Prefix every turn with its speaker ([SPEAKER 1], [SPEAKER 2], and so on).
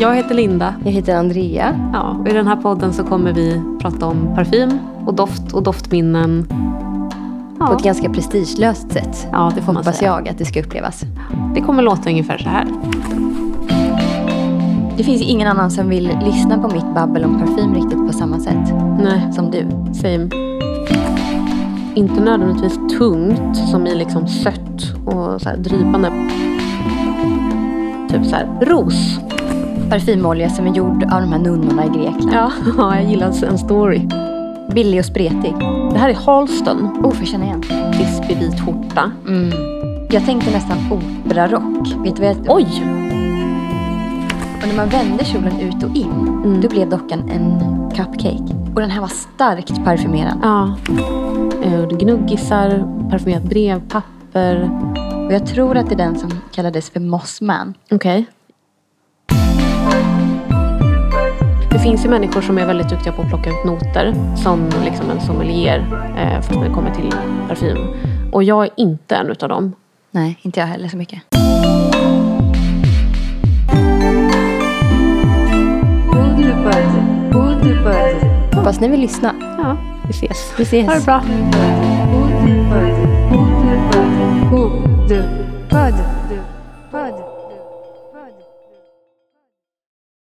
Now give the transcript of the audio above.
[SPEAKER 1] Jag heter Linda.
[SPEAKER 2] Jag heter Andrea.
[SPEAKER 1] Ja, och I den här podden så kommer vi prata om parfym och doft och doftminnen.
[SPEAKER 2] På
[SPEAKER 1] Ja,
[SPEAKER 2] ett ganska prestigelöst sätt.
[SPEAKER 1] ja det får man
[SPEAKER 2] Hoppas
[SPEAKER 1] säga.
[SPEAKER 2] jag att det ska upplevas.
[SPEAKER 1] Det kommer låta ungefär så här.
[SPEAKER 2] Det finns ingen annan som vill lyssna på mitt babbel om parfym riktigt på samma sätt
[SPEAKER 1] Nej,
[SPEAKER 2] som du.
[SPEAKER 1] same. Inte nödvändigtvis tungt som i liksom sött och så här drypande. Typ så här ros.
[SPEAKER 2] Parfymolja som är gjord av de här nunnorna i Grekland.
[SPEAKER 1] Ja, ja jag gillar en story.
[SPEAKER 2] Billig och spretig.
[SPEAKER 1] Det här är Halston.
[SPEAKER 2] Oh, får jag känna igen?
[SPEAKER 1] Krispig vit skjorta.
[SPEAKER 2] Mm. Jag tänkte nästan operarock. Vet du vad jag...
[SPEAKER 1] Oj!
[SPEAKER 2] Och när man vände kjolen ut och in,
[SPEAKER 1] Mm.
[SPEAKER 2] då blev dockan en cupcake. Och den här var starkt parfymerad.
[SPEAKER 1] Ja. Eh, Gnuggisar, parfymerat brevpapper.
[SPEAKER 2] Och jag tror att det är den som kallades för Mossman.
[SPEAKER 1] Okej. Det finns ju människor som är väldigt duktiga på att plocka ut noter. Som liksom en sommelier. Eh, fast när det kommer till parfym. Och jag är inte en utav dem.
[SPEAKER 2] Nej, inte jag heller så mycket. Hoppas ni vill lyssna.
[SPEAKER 1] Ja, vi ses.
[SPEAKER 2] Vi ses.
[SPEAKER 1] Ha det bra.
[SPEAKER 3] Good bud. Good bud. Good bud.